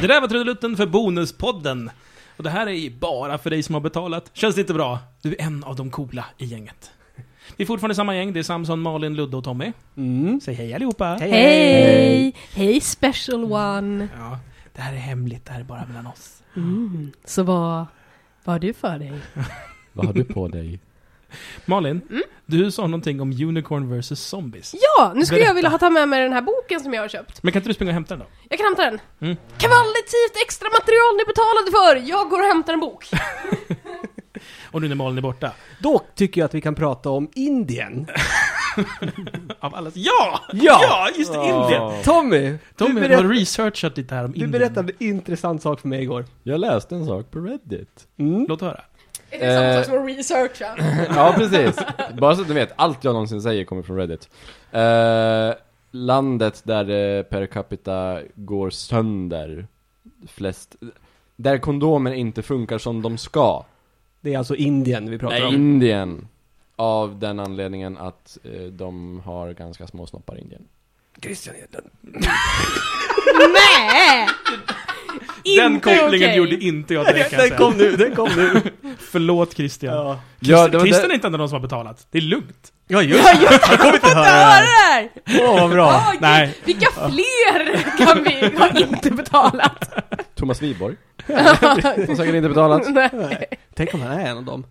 Det där var trudelutten för Bonuspodden. Och det här är ju bara för dig som har betalat. Känns det inte bra? Du är en av de coola i gänget. Vi är fortfarande samma gäng. Det är Samson, Malin, Ludde och Tommy. Mm. Säg hej allihopa. Hej. Eh, Hej! Hej special one! Ja, det här är hemligt. Det här är bara mellan oss. Mm. Så vad, vad har du för dig? Vad har du på dig? Malin, du sa någonting om Unicorn vs Zombies. Ja, nu skulle Berätta. jag vilja ha ta med mig den här boken som jag har köpt. Men kan inte du springa och hämta den då? Jag kan hämta den. Mm. Kvalitativt extra material ni betalade för! Jag går och hämtar en bok. Och nu när Malin är borta. Då tycker jag att vi kan prata om Indien. Av alla... Ja! Ja! Ja, just det! Indien! Tommy, Tommy du, har berätt, researchat lite här om du Indien. berättade en intressant sak för mig igår. Jag läste en sak på Reddit. Mm. Låt höra. Är det samma Eh. sak som att researcha? Ja, precis. Bara så att du vet, allt jag någonsin säger kommer från Reddit. Eh, landet där det per capita går sönder flest... Där kondomer inte funkar som de ska. Det är alltså Indien vi pratar Nej, om. Indien. Av den anledningen att eh, de har ganska små snoppar i Indien. Kristianheten. Nej! den kopplingen okej. gjorde inte jag direkt kan jag Den säga. kom nu, den kom nu. Förlåt Christian. Ja, Ja, det var Christian det- är inte en av de som har betalat. Det är lugnt. ja just det. Jag kommer inte höra det Hör här. det där! Åh, vad bra. Åh, Ah, gud, nej. Vilka fler kan vi ha inte betalat? Thomas Wiborg. Som säkert inte betalat. Nej. Tänk om han är en av dem.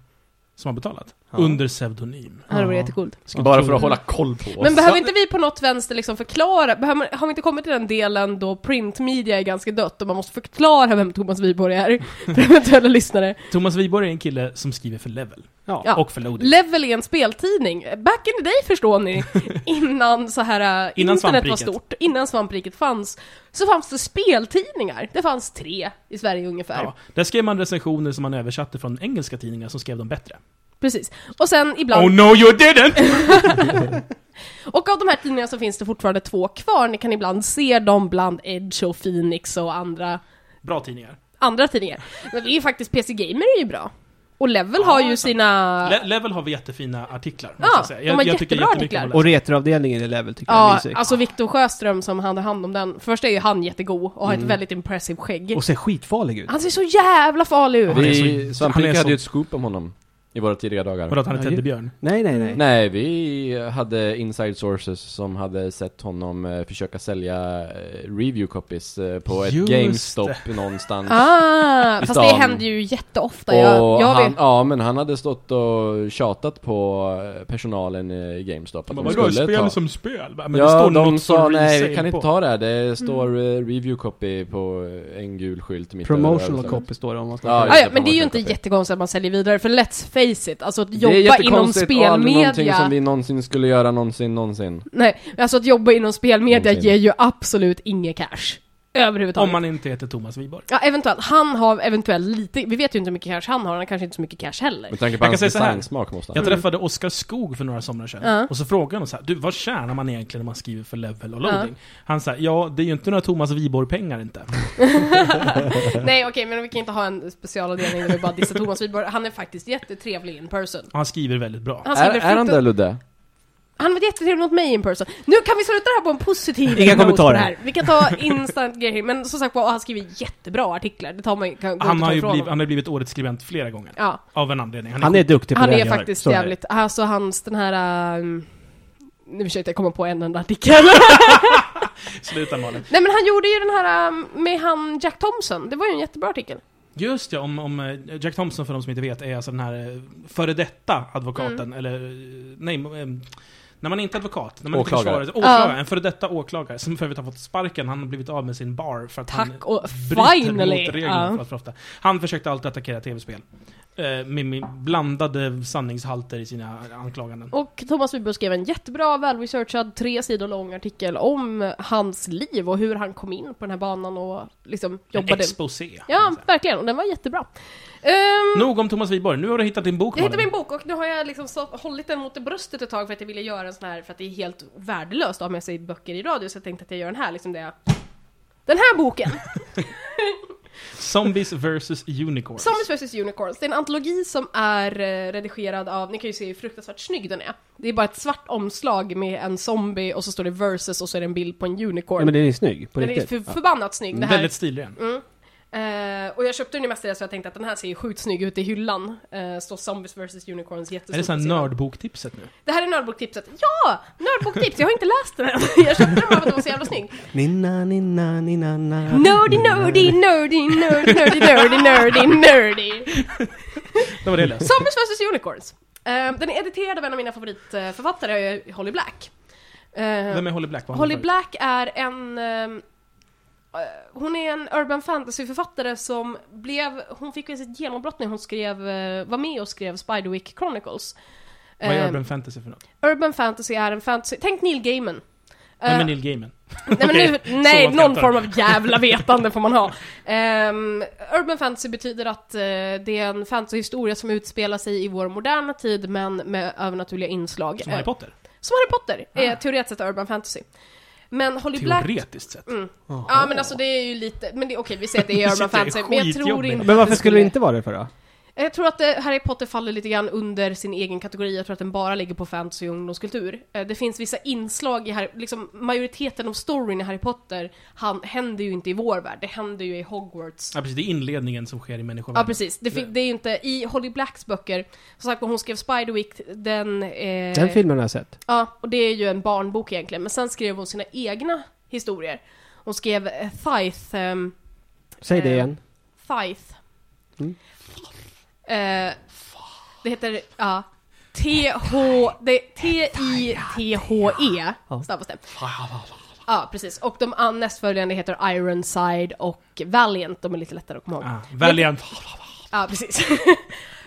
Som har betalat. Ja. Under pseudonym. Ja, det vore jättecoolt. Bara för att hålla koll på oss. Men behöver inte vi på något vänster liksom förklara, behöver, man- har vi inte kommit till den delen då printmedia är ganska dött och man måste förklara vem Thomas Wiborg är för eventuella lyssnare? Thomas Wiborg är en kille som skriver för Level. Ja. Och för Loading. Level är en speltidning, back in the day förstår ni, innan så här, äh, Innan internet var svampriket. stort, innan svampriket fanns, så fanns det speltidningar. Det fanns tre i Sverige ungefär. ja. Där skrev man recensioner som man översatte från engelska tidningar som skrev dem bättre. Precis. Och sen ibland, Oh no you didn't! och av de här tidningarna så finns det fortfarande två kvar, ni kan ibland se dem bland Edge och Phoenix och andra Bra tidningar. andra tidningar. Men det är ju faktiskt PC Gamer är ju bra. Och Level har det är ju sant. sina... Le Level har vi jättefina artiklar. måste Ja, jag säga. de har jättebra jättemycket om artiklar. att Och retroavdelningen i Level tycker jag är ja, mysig. alltså Viktor Sjöström som hade hand om den. Först är ju han jättegod och har Mm. ett väldigt impressive Oh, skägg. Och ser skitfarlig ut. Han ser så jävla farlig ut! Han är så- han är Vi, Svampriket så- hade ju ett scoop om honom. I våra tidiga dagar. läsa. Vadå, att han är Ja, ju- teddybjörn? Nej, nej, nej. Nej, vi hade inside sources som hade sett honom eh, försöka sälja eh, review copies eh, på ett Just GameStop någonstans. Ah, I fast stan. det händer ju jätteofta. och jag, jag han, vet. Ah, ja, men han hade stått och tjatat på eh, personalen i GameStop att de Vadå, skulle ta... spel? liksom, Men ja, de något sa som nej, vi resale kan på." inte ta det här. Det står Mm. eh, review copy på eh, en gul skylt mitt liksom. över Promotional överslaget. copy står det om man ska Ja, vara Ah, ja, det, men det är ju man inte kan köpa. jättekonstigt att man säljer vidare, för let's face it, alltså att Det är jobba inom jättekonstigt och aldrig någonting spelmedia... som vi någonsin skulle göra någonsin, någonsin. Nej, alltså att jobba inom spelmedia Någonsin. ger ju absolut ingen cash. Överhuvudtaget. Om man inte heter Thomas Wiborg. Ja, eventuellt. Han har eventuellt lite, vi vet ju inte hur mycket cash han har, han har kanske inte så mycket cash heller. Med tanke på kan hans säga så här. designsmak måste han. Jag träffade Oskar Skog för några somrar sedan Mm. Ja. och så frågade han så här, du vad tjänar man egentligen när man skriver för level och loading? Han sa, ja det är ju inte några Thomas Wiborg-pengar inte. Nej okej, men vi kan inte ha en specialavdelning där vi bara dissar Thomas Wiborg. Han är faktiskt jättetrevlig in person. Och han skriver väldigt bra. Han, Är, skriver är han fruktan- där Ludde? han var jättetrevlig mot mig in person. Nu kan vi sluta det här på en positiv Inga note på kommentarer. det här. Vi kan ta instant grejer, men som sagt var, han skriver jättebra artiklar. Det tar man kan, går Han inte har ju att ta ifrån blivit, honom. han har blivit årets skribent flera gånger. Ja, Av en anledning. Han är, Han är duktig på han det är han gör. faktiskt Typ Så det. jävligt, alltså hans den här... Um, nu försökte jag komma på en enda artikel. Sluta Malin. Nej men han gjorde ju den här um, med han Jack Thompson, det var ju en jättebra artikel. Just ja, om, om eh, Jack Thompson för de som inte vet är alltså den här eh, före detta advokaten, Mm. eller eh, nej, eh, när man inte är advokat, när man Åklagare. inte försvarar åklagare, en före detta åklagare som för övrigt har fått sparken, han har blivit av med sin bar för att han Tack och bryter finally! mot reglerna Ja. för, för ofta. Han försökte alltid attackera tv-spel. Eh, med, med blandade sanningshalter i sina anklaganden. Och Thomas Wiberg skrev en jättebra, välresearchad, tre sidor lång artikel om hans liv och hur han kom in på den här banan och liksom En jobbade. exposé. kan man Ja, säga. verkligen. Och den var jättebra. Ehm, Nog om Thomas Wiborg, nu har du hittat din bok jag hittade Malin. min bok och nu har jag liksom så, hållit den mot det bröstet ett tag för att jag ville göra en sån här, för att det är helt värdelöst att ha med sig böcker i radio, så jag tänkte att jag gör den här, liksom det jag... Den här boken! Zombies vs. Unicorns. Zombies vs Unicorns, det är en antologi som är eh, redigerad av, ni kan ju se hur fruktansvärt snygg den är. Det är bara ett svart omslag med en zombie och så står det versus och så är det en bild på en unicorn. Ja, men den är snygg, på den är riktigt. för, förbannat snygg. Det här. Väldigt stilren. Mm. Eh, och jag köpte den ju mestadels för jag tänkte att den här ser ju sjukt snygg ut i hyllan. Uh, står Zombies vs Unicorns jättestort. Är det så på här sidan. nördboktipset nu? Det här är nördboktipset. Ja! Nördboktips! Jag har inte läst den än. Jag köpte den bara för att den var så jävla snygg. Ninna, ninna, ninna, na. Nerdy, nerdy, nerdy, nerdy, nerdy, nerdy, nerdy, nerdy. Det var det jag läste. Zombies vs Unicorns. Eh, den är editerad av en av mina favoritförfattare, Holly Black. Eh, Vem är Holly Black? Vad har hon Holly för- Black är en... ehm, eh, hon är en urban fantasy-författare som blev... Hon fick väl sitt genombrott när hon skrev, eh, var med och skrev Spiderwick Chronicles. Vad är Eh, urban fantasy för något? urban fantasy är en fantasy... Tänk Neil Gaiman. Nej Eh, men Neil Gaiman. Nej, men Okej, nu, nej så långt någon jag tar form det. av jävla vetande får man ha. Ehm, urban fantasy betyder att eh, det är en fantasyhistoria som utspelar sig i vår moderna tid men med övernaturliga inslag. Som Harry Eh, Potter. Ah. som Harry Potter är teoretiskt sett urban fantasy. Men Holly Black... Teoretiskt sett. Mm. Ja men alltså det är ju lite, men det, okej vi säger att det Vi är urban sitter i fantasy, men jag tror skitjobbigt. inte Men att varför skulle det inte vara det för då? Jag tror att eh, Harry Potter faller lite grann under sin egen kategori, jag tror att den bara ligger på fantasy och ungdomskultur. Eh, Det finns vissa inslag i Harry, liksom majoriteten av storyn i Harry Potter han, händer ju inte i vår värld, det händer ju i Hogwarts. Ja precis, det är inledningen som sker i människovärlden. Ja precis, det, fi- det är ju inte, i Holly Blacks böcker, som sagt hon skrev Spiderwick, den... Eh, Den filmen har jag sett. Ja, och det är ju en barnbok egentligen, men sen skrev hon sina egna historier. Hon skrev eh, Thyth, ehm, Säg det Eh, igen. Thyth. Mm. Eh, det heter, ja. T-H, det är T-I-T-H-E Ja. stavas E. det. Ja, precis. Och de an- nästföljande heter Ironside och Valiant, de är lite lättare att komma ihåg. Ah, Valiant. Ja, precis.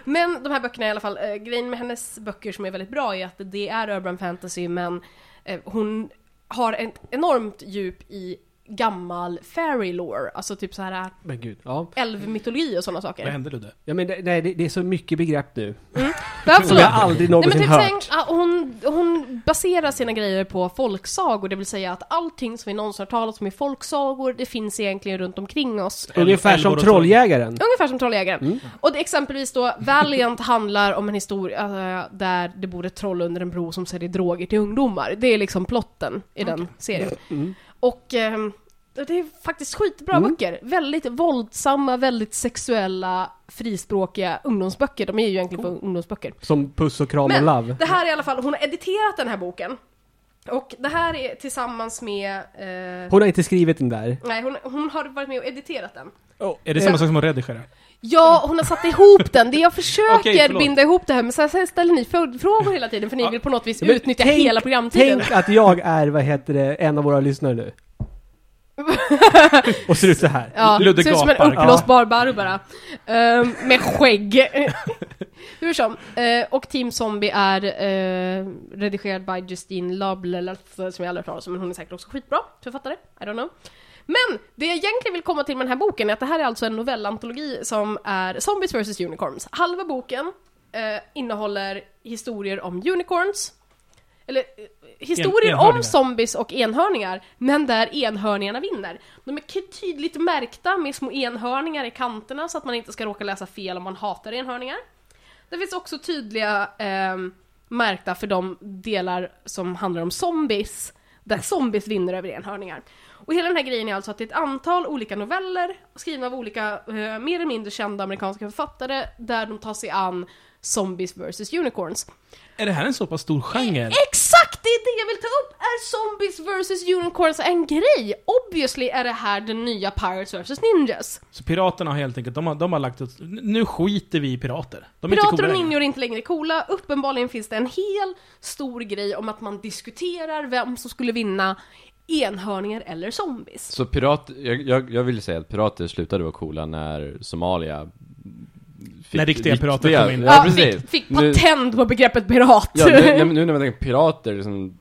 men de här böckerna i alla fall, eh, grejen med hennes böcker som är väldigt bra är att det är urban fantasy men eh, hon har ett enormt djup i gammal fairy lore, alltså typ så här Men gud. Ja. älvmytologi och sådana saker. Vad hände Ludde? ja men det, nej, det, det är så mycket begrepp nu. Men Som absolut. jag aldrig Mm. Nej, men någonsin typ hört. tänk, ah, hon, hon baserar sina grejer på folksagor, det vill säga att allting som vi någonsin har talat om i folksagor, det finns egentligen runt omkring oss. Ungefär Älvor som och Trolljägaren. Ungefär som Trolljägaren. Mm. Och det, exempelvis då, Valiant handlar om en historia eh, där det bor ett troll under en bro som säljer droger till ungdomar. Det är liksom plotten i den serien. Mm. Och ehm, det är faktiskt skitbra böcker. Väldigt våldsamma, väldigt sexuella, frispråkiga ungdomsböcker. De är ju egentligen för ungdomsböcker. Som Puss och kram och Men Love. det här är i alla fall, hon har editerat den här boken. Och det här är tillsammans med... Eh, Hon har inte skrivit den där. nej, hon, hon har varit med och editerat den. Är det samma sak som att redigera? Ja, hon har satt ihop den. Det jag försöker Okej, förlåt. binda ihop det här men sen, sen ställer ni följdfrågor hela tiden för ni Ja. vill på något vis Ja, men utnyttja tänk- hela programtiden. Tänk att jag är, vad heter det, en av våra lyssnare nu. Och ser ut så här. Ja, Ludde ser ut som en gapar. uppblåsbar Barbara. Ehm, med skägg. Hur som. eh, och Team Zombie är eh, redigerad by Justine Lablelats, som jag aldrig har hört talas om, men hon är säkert också skitbra författare. I don't know. Men det jag egentligen vill komma till med den här boken är att det här är alltså en novellantologi som är Zombies vs Unicorns. Halva boken eh, innehåller historier om unicorns, eller eh, historier om enhörningar. zombies och enhörningar, men där enhörningarna vinner. De är k- tydligt märkta med små enhörningar i kanterna så att man inte ska råka läsa fel om man hatar enhörningar. Det finns också tydliga ehm, märkta för de delar som handlar om zombies, där zombies vinner över enhörningar. Och hela den här grejen är alltså att det är ett antal olika noveller skrivna av olika eh, mer eller mindre kända amerikanska författare där de tar sig an zombies vs unicorns. Är det här en så pass stor Eh, genre? Exakt! Det är det jag vill ta upp! Är zombies vs unicorns en grej? Obviously är det här den nya Pirates vs Ninjas. Så piraterna har helt enkelt, de har, de har lagt ett, Nu skiter vi i pirater. De är inte Pirater coola och längre. ninjor är inte längre coola, uppenbarligen finns det en hel stor grej om att man diskuterar vem som skulle vinna enhörningar eller zombies. Så pirat, jag, jag, jag vill säga att pirater slutade vara coola när Somalia fick När riktiga pirater kom in. Ja, precis. Ah, fick, fick Nu- patent på begreppet pirat. Ja, nu, nej, men nu när man tänker pirater, liksom,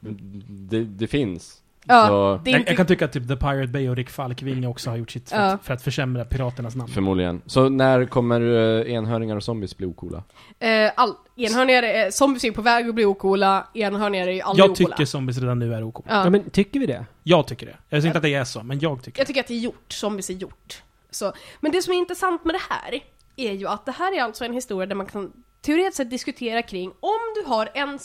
det, det finns. Ja, så, det är Jag, inte- jag kan tycka att typ The Pirate Bay och Rick Falkvinge också har gjort sitt för, Ja. att, för att försämra piraternas namn. Förmodligen. Så när kommer eh, enhörningar och zombies bli ocoola? eh, all, enhörningar är, zombies är på väg att bli ocoola, enhörningar är ju aldrig Jag ocoola. tycker zombies redan nu är OK. Ja. Ja men tycker vi det? Jag tycker det. Jag säger inte att det är så, men jag tycker Jag det. tycker att det är gjort, zombies är gjort. Så. Men det som är intressant med det här är ju att det här är alltså en historia där man kan teoretiskt sett diskutera kring om du har en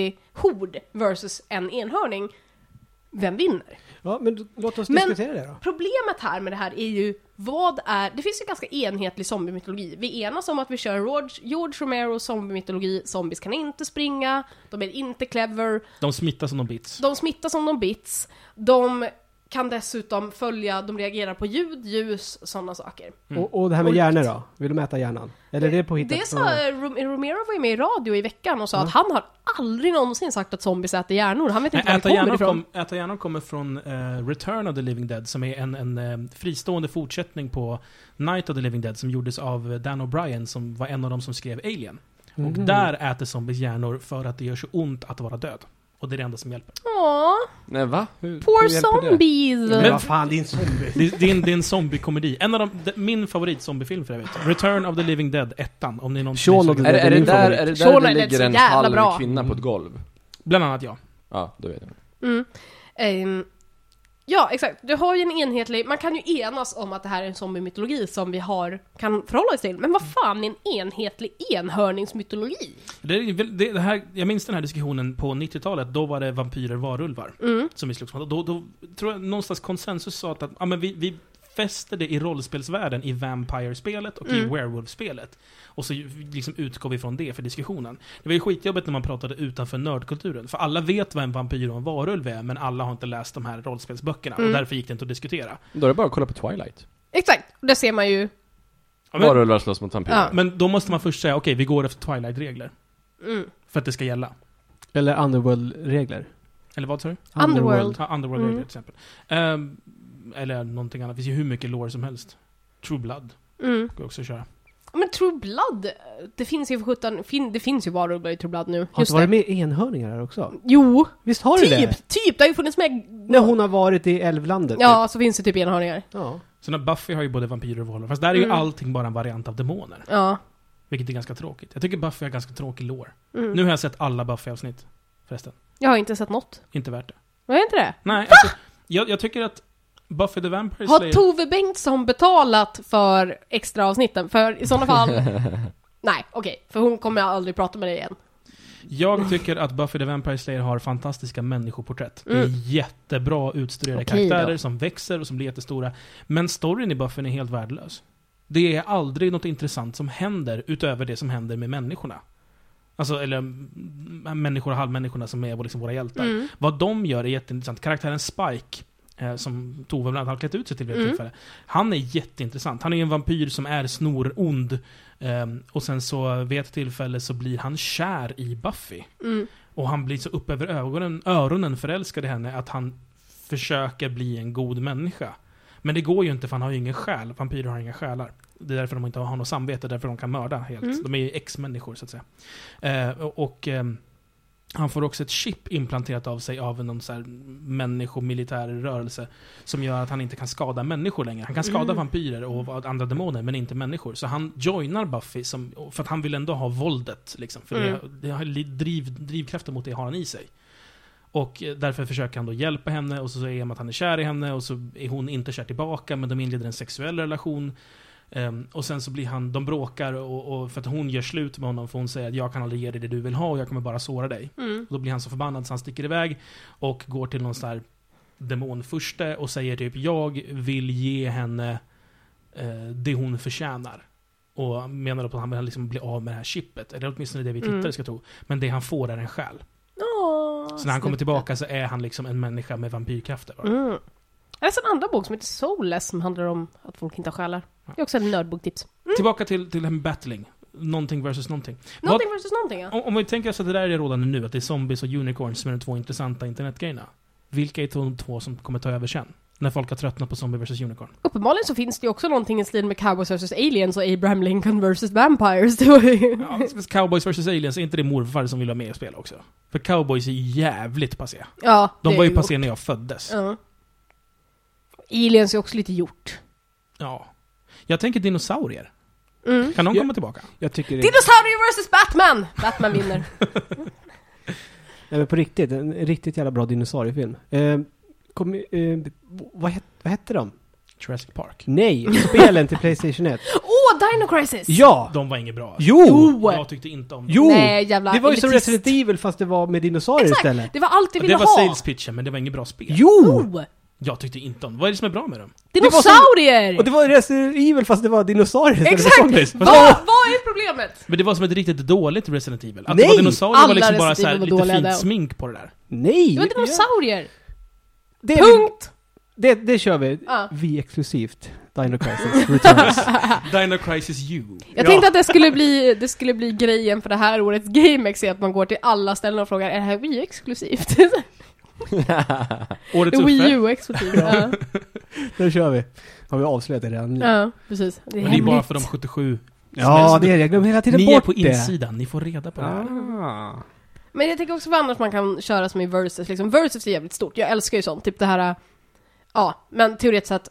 zombie-hord versus en enhörning, vem vinner? Ja, men då- låt oss Men- diskutera det då. Problemet här med det här är ju vad är, det finns ju ganska enhetlig zombiemytologi. Vi enas om att vi kör George, George Romeros zombiemytologi, zombies kan inte springa, de är inte clever, De smittas som de bits. de smittas om de bits, de kan dessutom följa, de reagerar på ljud, ljus, sådana saker. Mm. Och, och det här med Och- hjärnor då? Vill du mäta hjärnan? Eller är det påhittat? Det sa, Rom- Romero var ju med i radio i veckan och sa att han har aldrig någonsin sagt att zombies äter hjärnor, han vet inte var Äta det kommer hjärnor, ifrån. kom, Äta hjärnor kommer från eh, Return of the Living Dead, som är en, en eh, fristående fortsättning på Night of the Living Dead, som gjordes av eh, Dan O'Brien, som var en av de som skrev Alien. Och Mhm. där äter zombies hjärnor för att det gör så ont att vara död. Och det är det enda som hjälper. Åh, Nej va? Hur, poor hur hjälper det? zombies! Men Men- vad fan, din zombie. Det, det, är, en, det är en zombiekomedi. En av de, de, min favorit zombiefilm för övrigt. Return of the Living Dead, ettan. Om ni någonsin Shaun är Mm. of the sugen- Är, det- är det min där, favorit. är det där Sean det är ligger så en jävla halv bra. kvinna på ett golv? Bland annat jag. Ja, då vet jag. Mm. Ehm, ja, exakt. Du har ju en enhetlig... Man kan ju enas om att det här är en zombie-mytologi som vi har, kan förhålla oss till. Men vad fan är en enhetlig enhörningsmytologi? Det, är väl- det, det här, jag minns den här diskussionen på 90-talet. Då var det vampyrer varulvar Mm. som vi slogs mot. Och Då, då tror jag någonstans konsensus sa att, att ja, men vi, vi fäster det i rollspelsvärlden i Vampire-spelet och i Mm. Werewolf-spelet. Och så ju- liksom utgår vi från det för diskussionen. Det var ju skitjobbigt när man pratade utanför nördkulturen. För alla vet vad en vampyr och en varulv är, men alla har inte läst de här rollspelsböckerna. Mm. Och därför gick det inte att diskutera. Då är det bara att kolla på Twilight. Exakt, där ser man ju... Ja, men, Varulvar slåss mot Ja. vampyrer. men då måste man först säga, okej, vi går efter Twilight-regler. Mm. För att det ska gälla. Eller Underworld-regler. Eller vad sa du? Underworld. Ja, Underworld Mm. till exempel. Ehm, eller någonting annat. Det finns ju hur mycket lore som helst. True Blood Mm. går också att köra. Ja, Men True Blood, det finns ju för sjutton... Fin, det finns ju varulvar i True Blood nu. Har inte varit med i enhörningar här också? Jo, Visst har du det? typ! Typ! Det har ju funnits med... När hon har varit i Älvlandet? Ja, så finns det typ enhörningar. typ. ja. Sen har Buffy har ju både vampyrer och varulvar. Fast där är ju Mm. allting bara en variant av demoner. Ja. Vilket är ganska tråkigt. Jag tycker Buffy har ganska tråkig lore. Mm. Nu har jag sett alla Buffy-avsnitt. Förresten. Jag har inte sett något. Inte värt det. Var det inte det? Nej, alltså, jag, jag tycker att Buffy the Vampire Har Slayer... Tove Bengtsson betalat för extra avsnitten? För i sådana fall... Nej, okej. för hon kommer jag aldrig prata med dig igen. Jag tycker att Buffy the Vampire Slayer har fantastiska människoporträtt. Det Mm. är jättebra utstuderade Okej då. karaktärer som växer och som blir jättestora. Men storyn i Buffyn är helt värdelös. Det är aldrig något intressant som händer utöver det som händer med människorna. Alltså, eller mm, människor och halvmänniskorna som är liksom våra hjältar. Mm. Vad de gör är jätteintressant. Karaktären Spike, eh, som Tove bland annat har klätt ut sig till vid ett Mm. tillfälle. Han är jätteintressant. Han är en vampyr som är snorond. Eh, och sen så vid ett tillfälle så blir han kär i Buffy. Mm. Och han blir så upp över ögonen, öronen förälskad i henne att han försöker bli en god människa. Men det går ju inte för han har ju ingen själ. Vampyrer har inga själar. Det är därför de inte har något samvete, därför de kan mörda helt. Mm. De är ju ex-människor så att säga. Eh, och och ehm, han får också ett chip implanterat av sig av någon så här människomilitär rörelse som gör att han inte kan skada människor längre. Han kan skada Mm. vampyrer och andra demoner, men inte människor. Så han joinar Buffy, som, för att han vill ändå ha våldet. Liksom, för Mm. det, det har li- driv, drivkraften mot det har han i sig. Och eh, därför försöker han då hjälpa henne och så är det att han är kär i henne och så är hon inte kär tillbaka men de inleder en sexuell relation. Ehm, och sen så blir han, de bråkar och, och för att hon gör slut med honom för hon säger att jag kan aldrig ge dig det du vill ha och jag kommer bara såra dig. Mm. Och då blir han så förbannad så han sticker iväg och går till någon sån här demonfurste och säger typ jag vill ge henne eh, det hon förtjänar. Och menar då på att han vill liksom bli av med det här chippet. Eller åtminstone det vi tittare Mm. ska tro. Men det han får är en själ. Åh, Så när han kommer snyggt. tillbaka så är han liksom en människa med vampyrkrafter. bara. Mm. Jag läste en andra bok som heter Soulless som handlar om att folk inte har själar. Det är också en nördboktips. Tillbaka till, till det här med battling. Någonting versus någonting. Någonting versus någonting ja. Om, om vi tänker oss att det där är det rådande nu, att det är zombies och unicorns som är de två intressanta internetgrejerna. Vilka är de två som kommer ta över sen? När folk har tröttnat på zombie versus unicorn. Uppenbarligen så finns det ju också någonting i stil med Cowboys versus Aliens och Abraham Lincoln versus Vampires. Det var ju- Ja, Cowboys versus aliens, är inte det morfar som vill vara med och spela också? För cowboys är jävligt passé. ja, De det var är ju passé när jag föddes. Ja. Ja. Aliens är också lite gjort. Jag tänker dinosaurier. Mm. Kan de Ja. komma tillbaka? Jag tycker det... Dinosaurier versus Batman! Batman vinner. Nej men på riktigt, Ehm, en riktigt jävla bra dinosauriefilm. Eh, kom, eh, ehm, vad, het, vad hette de? Jurassic Park. Nej, spelen till Playstation 1. Åh, Dino Crisis! Ja! De var inget bra. alltså. Jo! Jo! Jag tyckte inte om dem. Jo! Nej, jävla det var ju som elitist. Resident Evil fast det var med dinosaurier Exakt! istället. Det var allt vi Det ville var ha! sales pitchen, men det var inget bra spel. Jo! Oh, Jag tyckte inte om dem. Vad är det som är bra med dem? var som- dinosaurier! Och det var Resident Evil fast det var dinosaurier istället för zombies. Alltså, Exakt! Vad vad är problemet? Men det var som ett riktigt dåligt Resident Evil. Att det Nej! var dinosaurier Alla var liksom bara Resident så här, Evil var lite dåliga där. fint smink på det där. Nej! Det var dinosaurier! Det, Punkt! det, det kör vi. Ja. Vi exklusivt. Dino Crisis Returns. Dino Crisis U. Jag Ja. tänkte att det skulle, bli, det skulle bli grejen för det här årets GameX, är att man går till alla ställen och frågar är det här Wii exklusivt? Årets Wii Uffe. U exklusivt, ja. Då kör vi. Har vi avslöjat det redan? ja. Precis. Det är, Men det är bara hemligt. för de 77. Ja, det är det. Jag glömmer hela tiden Ni är bort på det. insidan, ni får reda på det här. Ah. Men jag tänker också vad annars man kan köra som i Versus, liksom Versus är jävligt stort, jag älskar ju sånt, typ det här, äh, ja, men teoretiskt sett,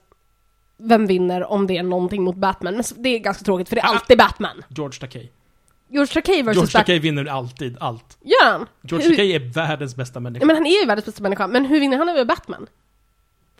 vem vinner om det är någonting mot Batman? Men s- det är ganska tråkigt för det är alltid Batman. George Takei. George Takei George versus Batman. Takei vinner alltid allt. Gör han? George Hur- Takei är världens bästa människa. Nej, men han är ju världens bästa människa, men hur vinner han över Batman?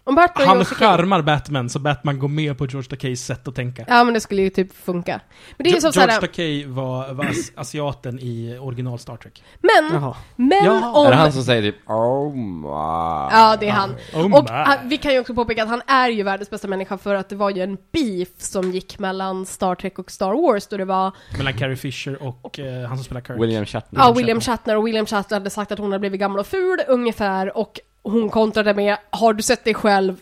Om Batman Han George Takei- charmar Batman så Batman går med på George Takeis sätt att tänka. Ja men det skulle ju typ funka. Men det är ju som George såhär, Takei var, var as- asiaten i original Star Trek. men, Jaha. men Jaha. om... Är det han som säger typ oh my. Ja det är han. Oh Och my. han, vi kan ju också påpeka att han är ju världens bästa människa för att det var ju en beef som gick mellan Star Trek och Star Wars då det var Mellan Carrie Fisher och eh, han som spelar Kirk. William Shatner. Ja, William Shatner och William Shatner hade sagt att hon hade blivit gammal och ful ungefär och hon kontrade med Har du sett dig själv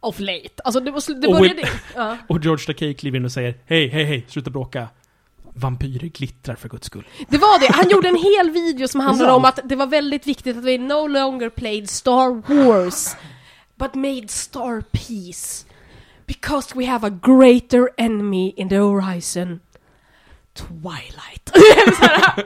off late? Alltså det, var, sl- det Och började... Ja. Och George Takei kliver in och säger Hej, hej, hej, sluta bråka. Vampyrer glittrar för guds skull. Det var det, han gjorde en hel video som handlade sant? om att det var väldigt viktigt att vi no longer played Star Wars but made Star Peace because we have a greater enemy in the horizon Twilight. Så här,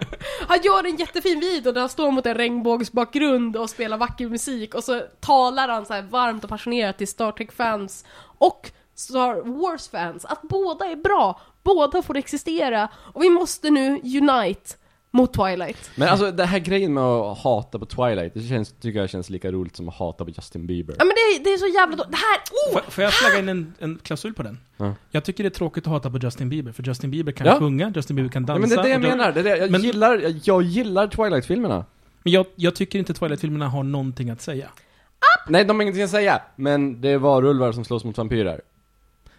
han gör en jättefin video där han står mot en regnbågsbakgrund och spelar vacker musik och så talar han så här varmt och passionerat till Star Trek-fans och Star Wars-fans att båda är bra, båda får existera och vi måste nu unite mot Twilight. Men alltså den här grejen med att hata på Twilight, det känns, tycker jag känns lika roligt som att hata på Justin Bieber. Ja men det, är- det är så jävla då. Det här, Får, oh! får jag slänga in en, en klausul på den? Ja. Jag tycker det är tråkigt att hata på Justin Bieber, för Justin Bieber kan Ja. sjunga, Justin Bieber kan dansa. Ja, men det är det jag och då- menar, det är det. Jag, Men- gillar, jag, jag gillar Twilight-filmerna. Men jag, jag tycker inte Twilight-filmerna har någonting att säga. Nej, de har ingenting att säga, men det är varulvar som slåss mot vampyrer.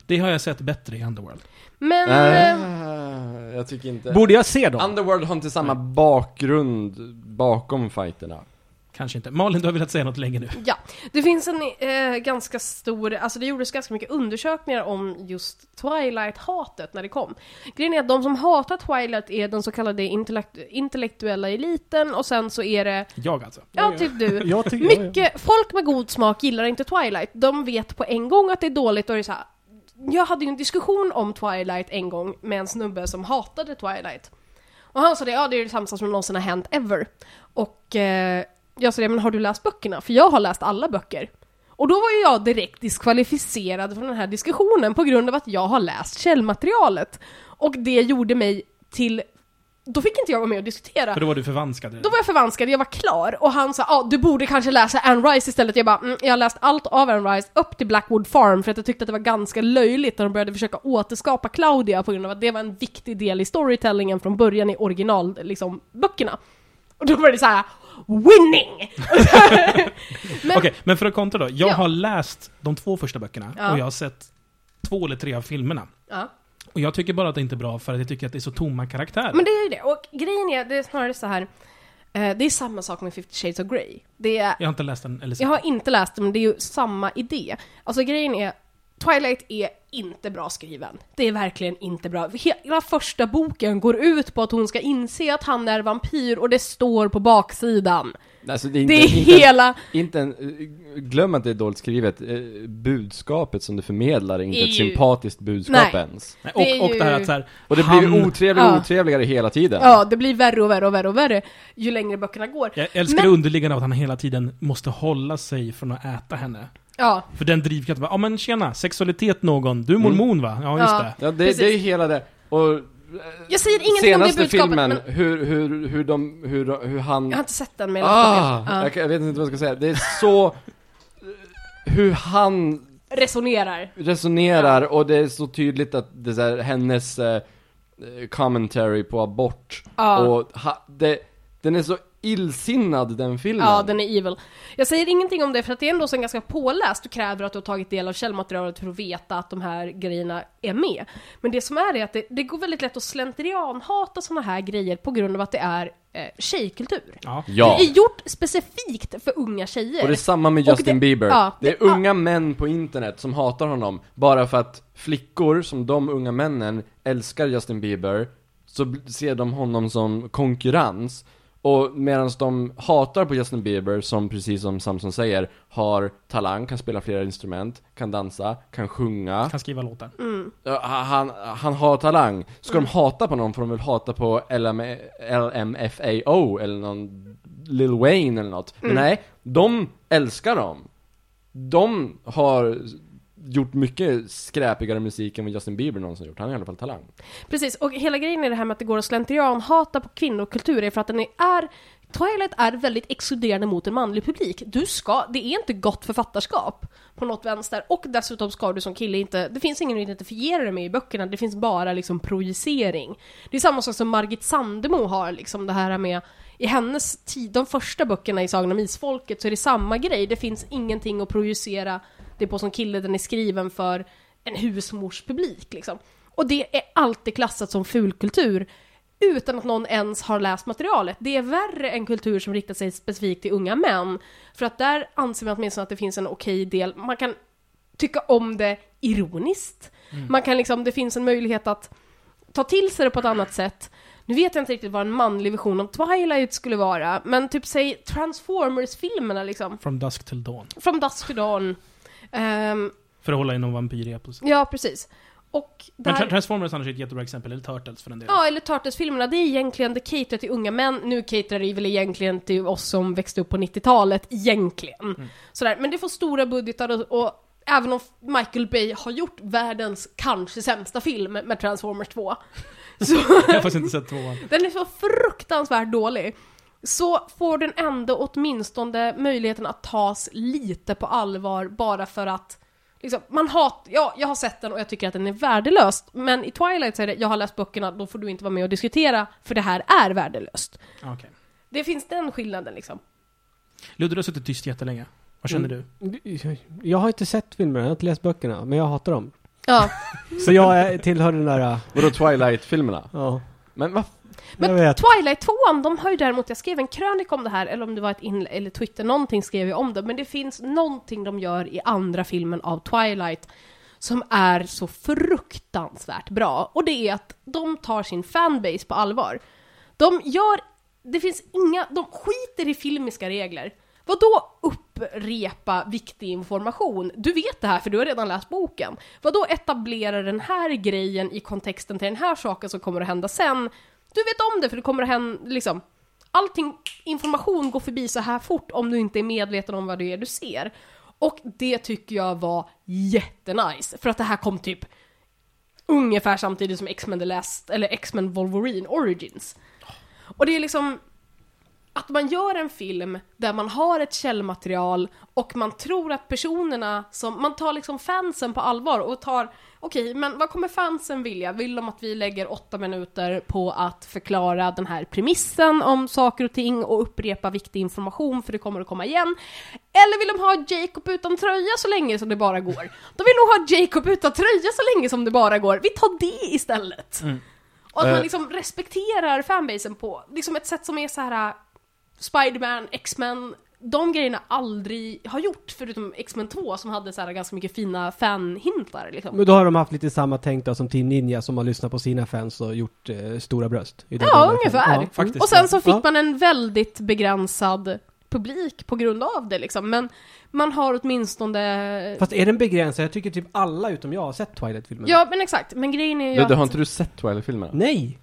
Det har jag sett bättre i Underworld. Men... eh, Äh, jag tycker inte... Borde jag se dem? Underworld har inte samma bakgrund bakom fighterna. Kanske inte. Malin, du har velat säga något länge nu. Ja, det finns en eh, ganska stor, alltså det gjordes ganska mycket undersökningar om just Twilight-hatet när det kom. Grejen är att de som hatar Twilight är den så kallade intellekt intellektuella eliten och sen så är det, Jag alltså. ja typ du, Jag tycker... mycket, folk med god smak gillar inte Twilight. De vet på en gång att det är dåligt och det är så här. Jag hade ju en diskussion om Twilight en gång med en snubbe som hatade Twilight. Och han sa det, ja det är det sämsta som någonsin har hänt ever. Och eh, jag sa det, men har du läst böckerna? För jag har läst alla böcker. Och då var ju jag direkt diskvalificerad från den här diskussionen på grund av att jag har läst källmaterialet. Och det gjorde mig till... Då fick inte jag vara med och diskutera. För då var du förvanskad redan. Då var jag förvanskad, jag var klar och han sa ah, du borde kanske läsa Anne Rice istället. Jag bara mm, jag har läst allt av Anne Rice upp till Blackwood Farm för att jag tyckte att det var ganska löjligt när de började försöka återskapa Claudia på grund av att det var en viktig del i storytellingen från början i original, liksom, böckerna. Och då var det så här winning! men- Okej, men för att kontra då. Jag Ja. har läst de två första böckerna Ja. och jag har sett två eller tre av filmerna. Ja. Och jag tycker bara att det inte är bra för att jag tycker att det är så tomma karaktärer. Men det är ju det, och grejen är, det är snarare så här eh, det är samma sak med 50 shades of Grey. Det är Jag har inte läst den eller sett Jag den. har inte läst det, men det är ju samma idé. Alltså grejen är, Twilight är inte bra skriven. Det är verkligen inte bra. Hela första boken går ut på att hon ska inse att han är vampyr och det står på baksidan. Alltså, det är Det inte, är inte, hela... inte en, eh, glöm att det är dåligt skrivet. Eh, Budskapet som du förmedlar är inte Är ett ju- sympatiskt budskap Nej. ens. Nej, det är Och, och det här ju- att så här, Och det blir ju otrevligare och Ja. otrevligare hela tiden. Ja, det blir värre och värre och värre och värre ju längre böckerna går. Jag älskar det Men- underliggande av att han hela tiden måste hålla sig från att äta henne. Ja, För den drivkraften, ja ah, men tjena, sexualitet någon, du är mormon va? Ja just Mm. Ja. det. Ja, det, Precis. det är ju hela det. Och eh, jag säger ingenting om det senaste budskapet, filmen, men hur, hur, hur de, hur, hur han... jag har inte sett den med Ah, ja. jag, kan- jag vet inte vad jag ska säga. Det är så... hur han resonerar. resonerar och det är så tydligt att det är så här, hennes eh, commentary på abort Ja. och ha, det, den är så illsinnad den filmen. Ja, den är evil. Jag säger ingenting om det för att det är ändå så ganska påläst och kräver att du har tagit del av källmaterialet för att veta att de här grejerna är med. Men det som är är att det, det går väldigt lätt att slentrianhata sådana här grejer på grund av att det är eh, tjejkultur. Ja. Ja. Det är gjort specifikt för unga tjejer. Och det är samma med Och det- Justin Bieber. ja, det det- är unga män på internet som hatar honom bara för att flickor som de unga männen älskar Justin Bieber så bl- ser de honom som konkurrens. Och medan de hatar på Justin Bieber som precis som Samson säger har talang, kan spela flera instrument, kan dansa, kan sjunga. Kan skriva låtar. Mm. Ja, Han, han har talang. Ska de hata på någon får de väl hata på LM, LMFAO eller någon Lil Wayne eller något. Men nej, de älskar dem. De har gjort mycket skräpigare musik än vad Justin Bieber någonsin gjort. Han har i alla fall talang. Precis, och hela grejen är det här med att det går att slentrianhata på kvinnokultur är för att den är Twilight är väldigt exkluderande mot en manlig publik. Du ska, det är inte gott författarskap på något vänster. Och dessutom ska du som kille inte, det finns ingen att identifiera dig med i böckerna, det finns bara liksom projicering. Det är samma sak som Margit Sandemo har liksom det här med, i hennes tid, de första böckerna i Sagan om Isfolket så är det samma grej, det finns ingenting att projicera det på som kille, den är skriven för en husmorspublik liksom. Och det är alltid klassat som fulkultur utan att någon ens har läst materialet. Det är värre än kultur som riktar sig specifikt till unga män. För att där anser man åtminstone att det finns en okej del, man kan tycka om det ironiskt. Man kan liksom, det finns en möjlighet att ta till sig det på ett annat sätt. Nu vet jag inte riktigt vad en manlig vision av Twilight skulle vara, men typ säg Transformers-filmerna liksom. From Dusk Till Dawn. From Dusk to Dawn. Ehm, För att hålla inom vampyrepos. ja, precis. Och Men där- Tra- Transformers annars är ett jättebra exempel, eller Turtles för den delen. Ja, eller Turtles-filmerna, det är egentligen, det caterar till unga män, nu caterar det väl egentligen till oss som växte upp på 90-talet, egentligen. Sådär. Men det får stora budgetar och, och även om Michael Bay har gjort världens kanske sämsta film med Transformers 2, så Jag har faktiskt inte sett tvåan. den är så fruktansvärt dålig. Så får den ändå åtminstone möjligheten att tas lite på allvar bara för att liksom, man hat, ja, jag har sett den och jag tycker att den är värdelös. Men i Twilight säger det, jag har läst böckerna, då får du inte vara med och diskutera, för det här är värdelöst. Ah, Okej. Det finns den skillnaden liksom. Ludde, du har suttit tyst jättelänge. Vad känner Mm. du? Jag har inte sett filmerna, jag har inte läst böckerna, men jag hatar dem. Ja. Så jag är- tillhör den där, äh, Vadå Twilight-filmerna? ja, Men vad jag Men vet. Twilight 2, de har ju däremot, jag skrev en krönika om det här, eller om det var ett inlägg, eller Twitter, någonting skrev jag om det, men det finns någonting de gör i andra filmen av Twilight som är så fruktansvärt bra, och det är att de tar sin fanbase på allvar. De gör, det finns inga, de skiter i filmiska regler. Vadå upprepa viktig information? Du vet det här för du har redan läst boken. Vadå etablera den här grejen i kontexten till den här saken som kommer att hända sen? Du vet om det för det kommer att hända, liksom. Allting, information går förbi så här fort om du inte är medveten om vad det är du ser. Och det tycker jag var jättenice, för att det här kom typ ungefär samtidigt som X-Men The Last, eller X-Men Wolverine Origins. Och det är liksom att man gör en film där man har ett källmaterial och man tror att personerna som, man tar liksom fansen på allvar och tar, okej men vad kommer fansen vilja? Vill de att vi lägger åtta minuter på att förklara den här premissen om saker och ting och upprepa viktig information för det kommer att komma igen? Eller vill de ha Jacob utan tröja så länge som det bara går? De vill nog ha Jacob utan tröja så länge som det bara går, vi tar det istället! Och att man Eh. liksom respekterar fanbasen på liksom ett sätt som är så här Spider-Man, X-Men, de grejerna aldrig har gjort förutom X-Men 2 som hade så här ganska mycket fina fanhintar liksom. Mm. Men då har de haft lite samma tänk då som Team Ninja som har lyssnat på sina fans och gjort eh, stora bröst. I den Ja, delen. ungefär. Ja. Faktiskt. Och sen så fick Ja. man en väldigt begränsad publik på grund av det liksom, men man har åtminstone... Fast är den begränsad? Jag tycker typ alla utom jag har sett Twilight-filmerna. Ja, men exakt, men grejen är ju Ludde, har att... inte du sett Twilight-filmerna? Nej!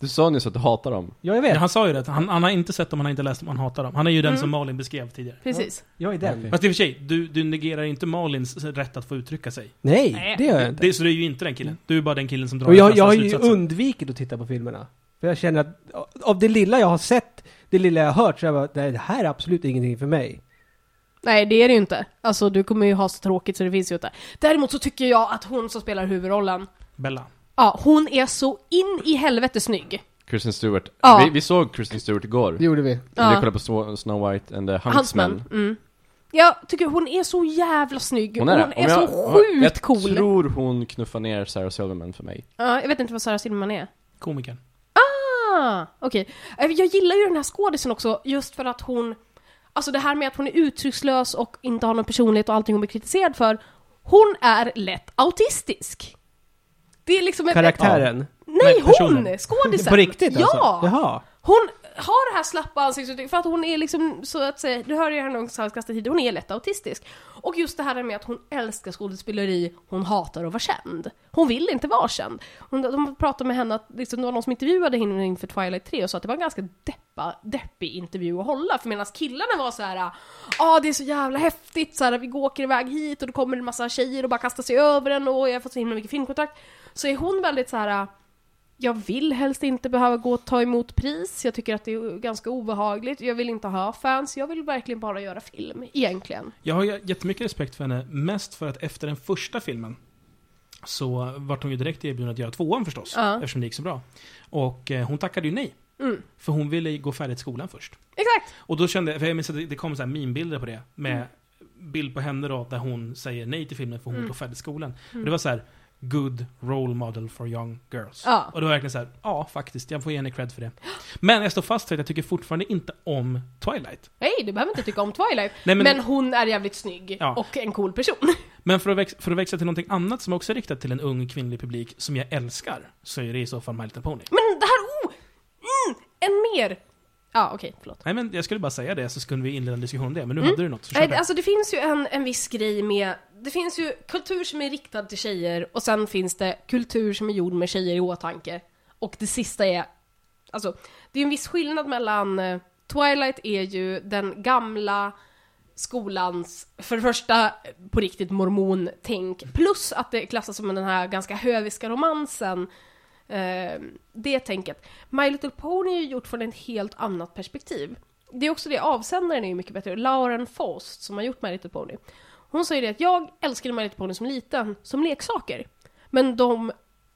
Du sa nyss att du hatar dem. Ja, jag Ja, vet. han sa ju det, han, han har inte sett dem, han har inte läst dem, han hatar dem. Han är ju den Mm. som Malin beskrev tidigare. Precis. Jag är den. Fast i och för sig, du, du negerar inte Malins rätt att få uttrycka sig. Nej, Nej. det gör jag inte. Det, så det är ju inte den killen. Du är bara den killen som drar Och jag, den jag har ju slutsatsen. undvikit att titta på filmerna. För jag känner att av det lilla jag har sett, det lilla jag har hört, så har jag bara, "Nej, det här är absolut ingenting för mig. Nej, det är det ju inte. Alltså, du kommer ju ha så tråkigt så det finns ju inte. Däremot så tycker jag att hon som spelar huvudrollen, Bella. ja, hon är så in i helvete snygg. Kristen Stewart. Ja. Vi, vi såg Kristen Stewart igår. Det gjorde vi. Ja. Vi kollade på Snow- Snow White and the Huntsman. Mm. Jag tycker hon är så jävla snygg. Hon är, det. Om jag- så sjukt jag cool. Jag tror hon knuffar ner Sarah Silverman för mig. Ja, jag vet inte vad Sarah Silverman är. Komikern. Ah, okej. Eh, Jag gillar ju den här skådisen också, just för att hon... Alltså det här med att hon är uttryckslös och inte har någon personlighet och allting hon blir kritiserad för. Hon är lätt autistisk. Det är liksom... ett- Karaktären? Nej, Nej, personen. hon! Skådisen! På riktigt ja. alltså? Jaha. Hon har det här slappa ansiktsuttrycket för att hon är liksom, så att säga, du hör ju henne någonstans kasta tid, hon är lätt autistisk. Och just det här med att hon älskar skådespeleri, hon hatar att vara känd. Hon vill inte vara känd. Hon, de pratade med henne att liksom, det var någon som intervjuade henne inför Twilight 3 och sa att det var en ganska deppa, deppig intervju att hålla, för medan killarna var så här, ja ah, det är så jävla häftigt, så här, vi åker iväg hit och då kommer en massa tjejer och bara kastar sig över en och jag har fått så himla mycket filmkontrakt. Så är hon väldigt så här jag vill helst inte behöva gå och ta emot pris, jag tycker att det är ganska obehagligt, jag vill inte ha fans, jag vill verkligen bara göra film, egentligen. Jag har ju jättemycket respekt för henne, mest för att efter den första filmen så vart hon ju direkt erbjuden att göra tvåan förstås, Ja. eftersom det gick så bra. Och eh, hon tackade ju nej, Mm. för hon ville gå färdigt skolan först. Exakt! Och då kände jag, för jag minns att det- det kom så här meme-bilder på det, med bild på henne då, där hon säger nej till filmen för hon Mm. vill gå färdigt skolan. Mm. Och det var så här, good role model for young girls. Ja. Och det var verkligen så här, ja faktiskt, jag får ge henne cred för det. Men jag står fast vid att jag tycker fortfarande inte om Twilight. Nej, du behöver inte tycka om Twilight, Nej, men, hon är jävligt snygg Ja. och en cool person. Men för att, växa, för att växa till någonting annat som också är riktat till en ung kvinnlig publik som jag älskar, så är det i så fall My Little Pony. Men det här, oh! Mm, en mer! Ja, okej, förlåt. Nej men jag skulle bara säga det så skulle vi inleda en diskussion om det, men nu Mm. hade du något så kör Nej, det. alltså det finns ju en, en viss grej med, det finns ju kultur som är riktad till tjejer och sen finns det kultur som är gjord med tjejer i åtanke. Och det sista är, alltså det är en viss skillnad mellan, eh, Twilight är ju den gamla skolans, för det första eh, på riktigt mormontänk, plus att det klassas som den här ganska höviska romansen. Eh, det tänket. My Little Pony är ju gjort från ett helt annat perspektiv. Det är också det, avsändaren är ju mycket bättre. Lauren Faust, som har gjort My Little Pony. Hon säger det att jag älskade My Little Pony som liten, som leksaker. Men de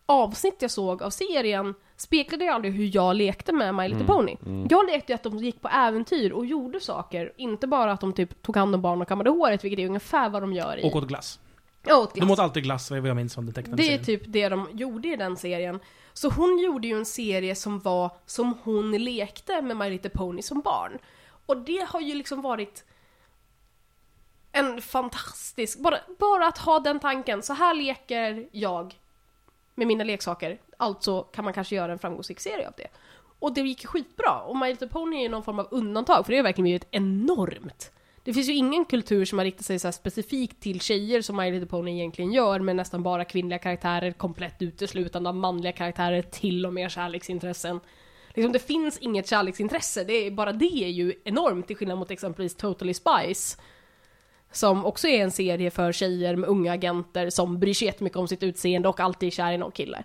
avsnitt jag såg av serien speglade ju aldrig hur jag lekte med My Little Pony. Jag lekte ju att de gick på äventyr och gjorde saker, inte bara att de typ tog hand om barn och kammade håret, vilket är ungefär vad de gör i... Och åt glass. Ja, åt De åt alltid glass, vad jag minns från den tecknade det serien. är typ det de gjorde i den serien. Så hon gjorde ju en serie som var som hon lekte med My Little Pony som barn. Och det har ju liksom varit en fantastisk, bara, bara att ha den tanken, så här leker jag med mina leksaker, alltså kan man kanske göra en framgångsrik serie av det. Och det gick ju skitbra, och My Little Pony är ju någon form av undantag, för det har ju verkligen blivit enormt. Det finns ju ingen kultur som har riktat sig så här specifikt till tjejer som My Little Pony egentligen gör, med nästan bara kvinnliga karaktärer, komplett uteslutande av manliga karaktärer, till och med kärleksintressen. Liksom, det finns inget kärleksintresse, det är, bara det är ju enormt, till skillnad mot exempelvis Totally Spice, som också är en serie för tjejer med unga agenter som bryr sig jättemycket om sitt utseende och alltid är kär i någon kille.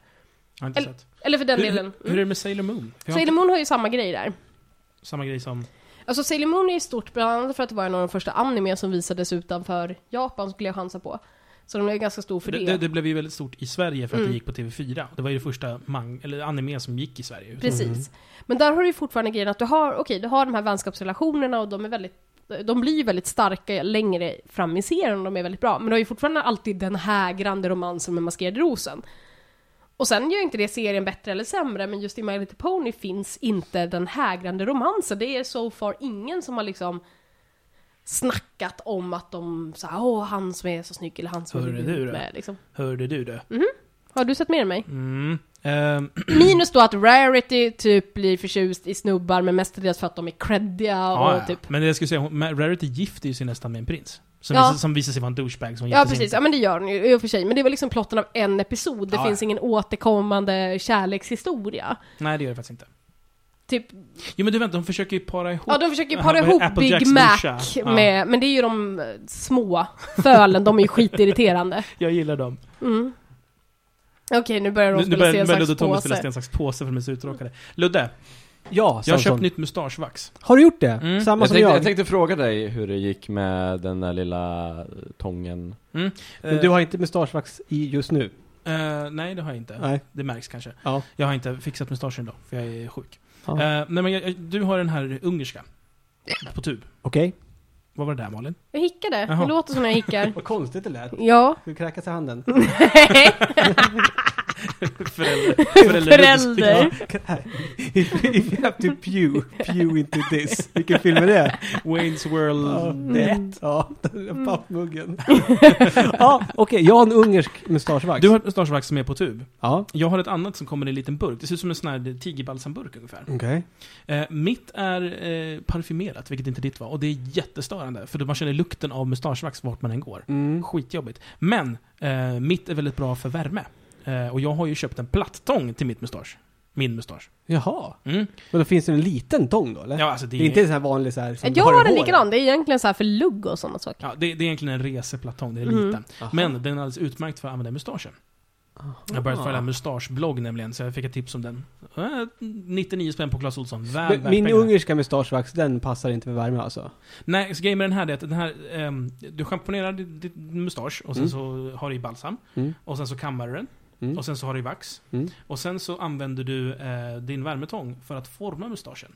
Jag har inte sett. Eller för den Hur, delen. Mm. hur är det med Sailor Moon? För jag har Sailor Moon har ju samma grej där. inte samma grej som... Alltså Sailor Moon är ju stort bland annat för att det var en av de första anime som visades utanför Japan skulle jag chansa på. Så de är ju ganska stor för det. Det, det, det blev ju väldigt stort i Sverige för att Mm. det gick på TV4. Det var ju det första mang, eller anime som gick i Sverige. Precis. Mm. Men där har du ju fortfarande grejen att du har, okej, du har de här vänskapsrelationerna och de är väldigt de blir ju väldigt starka längre fram i serien och de är väldigt bra. Men du har ju fortfarande alltid den hägrande romansen med Maskerade Rosen. Och sen gör inte det serien bättre eller sämre, men just i My Little Pony finns inte den hägrande romansen. Det är so far ingen som har liksom snackat om att de såhär, åh han som är så snygg eller han som Hörru är du då. med liksom. Hörde du det? Har du sett mer än mig? Mm. Ehm, Minus då att Rarity typ blir förtjust i snubbar, men mestadels för att de är creddiga och ja, ja. typ... Men det jag skulle säga, hon, Ma- Rarity gifter ju sig nästan med en prins. Som, Ja. visar, som visar sig vara en douchebag som Ja gifter sig precis, inte. ja men det gör hon ju i och för sig. Men det var liksom plotten av en episod, det Ja, finns ingen återkommande kärlekshistoria. Nej, det gör det faktiskt inte. Typ, Jo men du vänta, hon fööker ju para ihop... ja de försöker ju Ja, para men ihop Apple Big Jacks Mac morsa. Ja. med, men det är ju de eh, små fölen, de är ju skitirriterande. Jag gillar dem. Mm. Okej, nu börjar de Nu, nu spela börjar nu sten, börjar Ludde och sax, Tommy spela påse. Mm. sten, sax, påse för de är så uttråkade. Ludde, Ja, Jag har Samson. köpt nytt mustaschvax. Har du gjort det? Mm. Samma Jag som tänkte, jag. jag tänkte fråga dig hur det gick med den där lilla eh, tången. Men du har inte mustaschvax i just nu? Eh, nej, det har jag inte. Nej. Det märks kanske. Ja. Jag har inte fixat mustaschen idag, för jag är sjuk. Ja. Eh, nej, men jag, jag- du har den här ungerska. På tub. Okej. Vad var det där Malin? Jag hickade. Jaha. Det låter som när jag hickar. Vad konstigt det lät. Ja. Du kräkas i handen. Förälder. Förälder. If you have to typ pew, pew into this. Vilken film är det? Wayne's Ja, World. det är ett. Mm. Ja, den Mm. där pappmuggen. ja, okej. Jag har en ungersk mustaschvax. Du har ett mustaschvax som är på tub. Ja. Jag har ett annat som kommer i en liten burk. Det ser ut som en sån här tigerbalsamburk ungefär. Okej. Eh, mitt är eh, parfymerat, vilket inte ditt var. Och det är jättestörande, för man känner lukten av mustaschvax vart man än går. Mm. Skitjobbigt. Men eh, mitt är väldigt bra för värme. Eh, och jag har ju köpt en plattång till mitt mustasch. Min mustasch. Jaha. Mm. Men då finns det en liten tång då, eller? Ja, alltså, det, Det är, är inte en sån här vanlig så här, som Jag har i en håret. likadan. Det är egentligen så här för lugg och sådana saker. ja, det, det är egentligen en reseplattång, den är Mm. liten. Jaha. Men den är alldeles utmärkt för att använda i mustaschen. Jag har börjat följa en mustaschblogg nämligen, så jag fick ett tips om den. Eh, 99 spänn på Clas Ohlson. Väl Men värt Min pengarna. ungerska mustaschvax, den passar inte för värme alltså? Nej, så grejen med den här är att den här, ehm, du schamponerar din, din mustasch och sen Mm. så har du i balsam. Mm. Och sen så kammar du den. Mm. Och sen så har du i vax. Mm. Och sen så använder du eh, din värmetång för att forma mustaschen.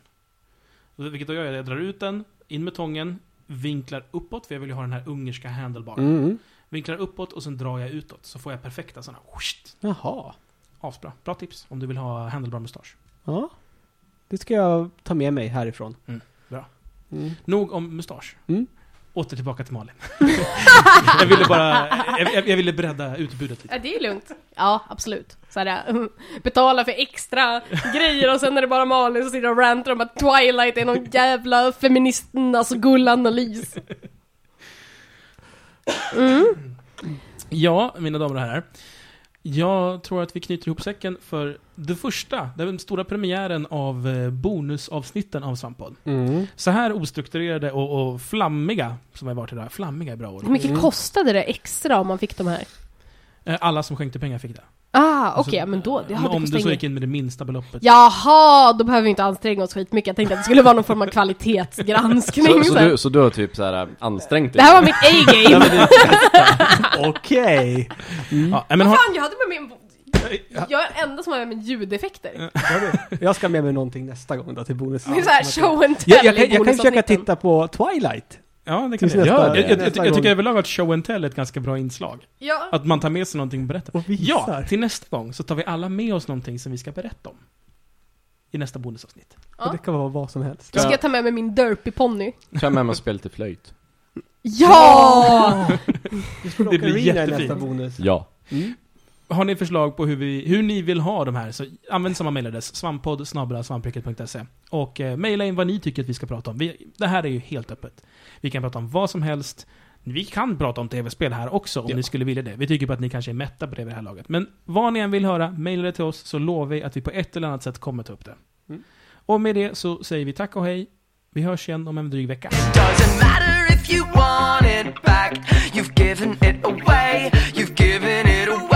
Vilket då gör jag, är att jag drar ut den, in med tången, vinklar uppåt, för jag vill ju ha den här ungerska handlebaren. Mm. Vinklar uppåt och sen drar jag utåt, så får jag perfekta sådana. whoosh, Jaha. Asbra. Bra tips om du vill ha handlebar mustasch. Ja. Det ska jag ta med mig härifrån. Mm, bra. Mm. Nog om mustasch. Mm. Åter tillbaka till Malin. jag ville bara, jag, jag- jag ville bredda utbudet lite. Ja, det är lugnt. Ja, absolut. Så här, äh, betala för extra grejer och sen är det bara Malin som sitter och rantar om att Twilight är någon jävla feministernas gullanalys. Mm. Ja, mina damer och herrar. Jag tror att vi knyter ihop säcken för det första, den stora premiären av eh, bonusavsnitten av Svamppodd. Mm. Så här ostrukturerade och, och flammiga som har varit idag. Flammiga är bra ord. Hur mycket Mm. kostade det extra om man fick de här? Eh, Alla som skänkte pengar fick det. Ah, okej, Alltså, men då... Ja, det om kostar du så inget. gick in med det minsta beloppet. Jaha, då behöver vi inte anstränga oss skitmycket. Jag tänkte att det skulle vara någon form av kvalitetsgranskning. Så, så, så här. du, så du har typ så här ansträngt dig? Det här var mitt A-game. Okej. Ja, men har, Vad fan, jag hade med min... Jag är den enda som har med min ljudeffekter. Jag ska med mig någonting nästa gång då till bonus. Det är såhär show and Jag, tell jag, i kan, jag kan försöka bonusavsnitten. titta på Twilight. ja, det kan Tills jag. nästa- Ja, jag, jag, jag, nästa jag tycker gång. överlag att show and tell är ett ganska bra inslag. Ja. Alltså, Att man tar med sig någonting och berättar. Och visar. Ja, till nästa gång så tar vi alla med oss någonting som vi ska berätta om. I nästa bonusavsnitt. Ja. Och det kan vara vad som helst. Då ska jag ta med mig min derpy ponny. Ta med mig och spela lite flöjt. Ja! Det blir nästa jättefint. bonus. Ja. Mm. Har ni förslag på hur, vi, hur ni vill ha de här så använd samma mejladress. Svamppodd svampriket.se Och eh, mejla in vad ni tycker att vi ska prata om. Vi, det här är ju helt öppet. Vi kan prata om vad som helst. Vi kan prata om tv-spel här också om Ja. ni skulle vilja det. Vi tycker bara att ni kanske är mätta på det vid det här laget. Men vad ni än vill höra, mejla det till oss så lovar vi att vi på ett eller annat sätt kommer ta upp det. Mm. Och med det så säger vi tack och hej. Vi hörs igen om en dryg vecka. Doesn't matter if you want it back. You've given it away. You've given it away.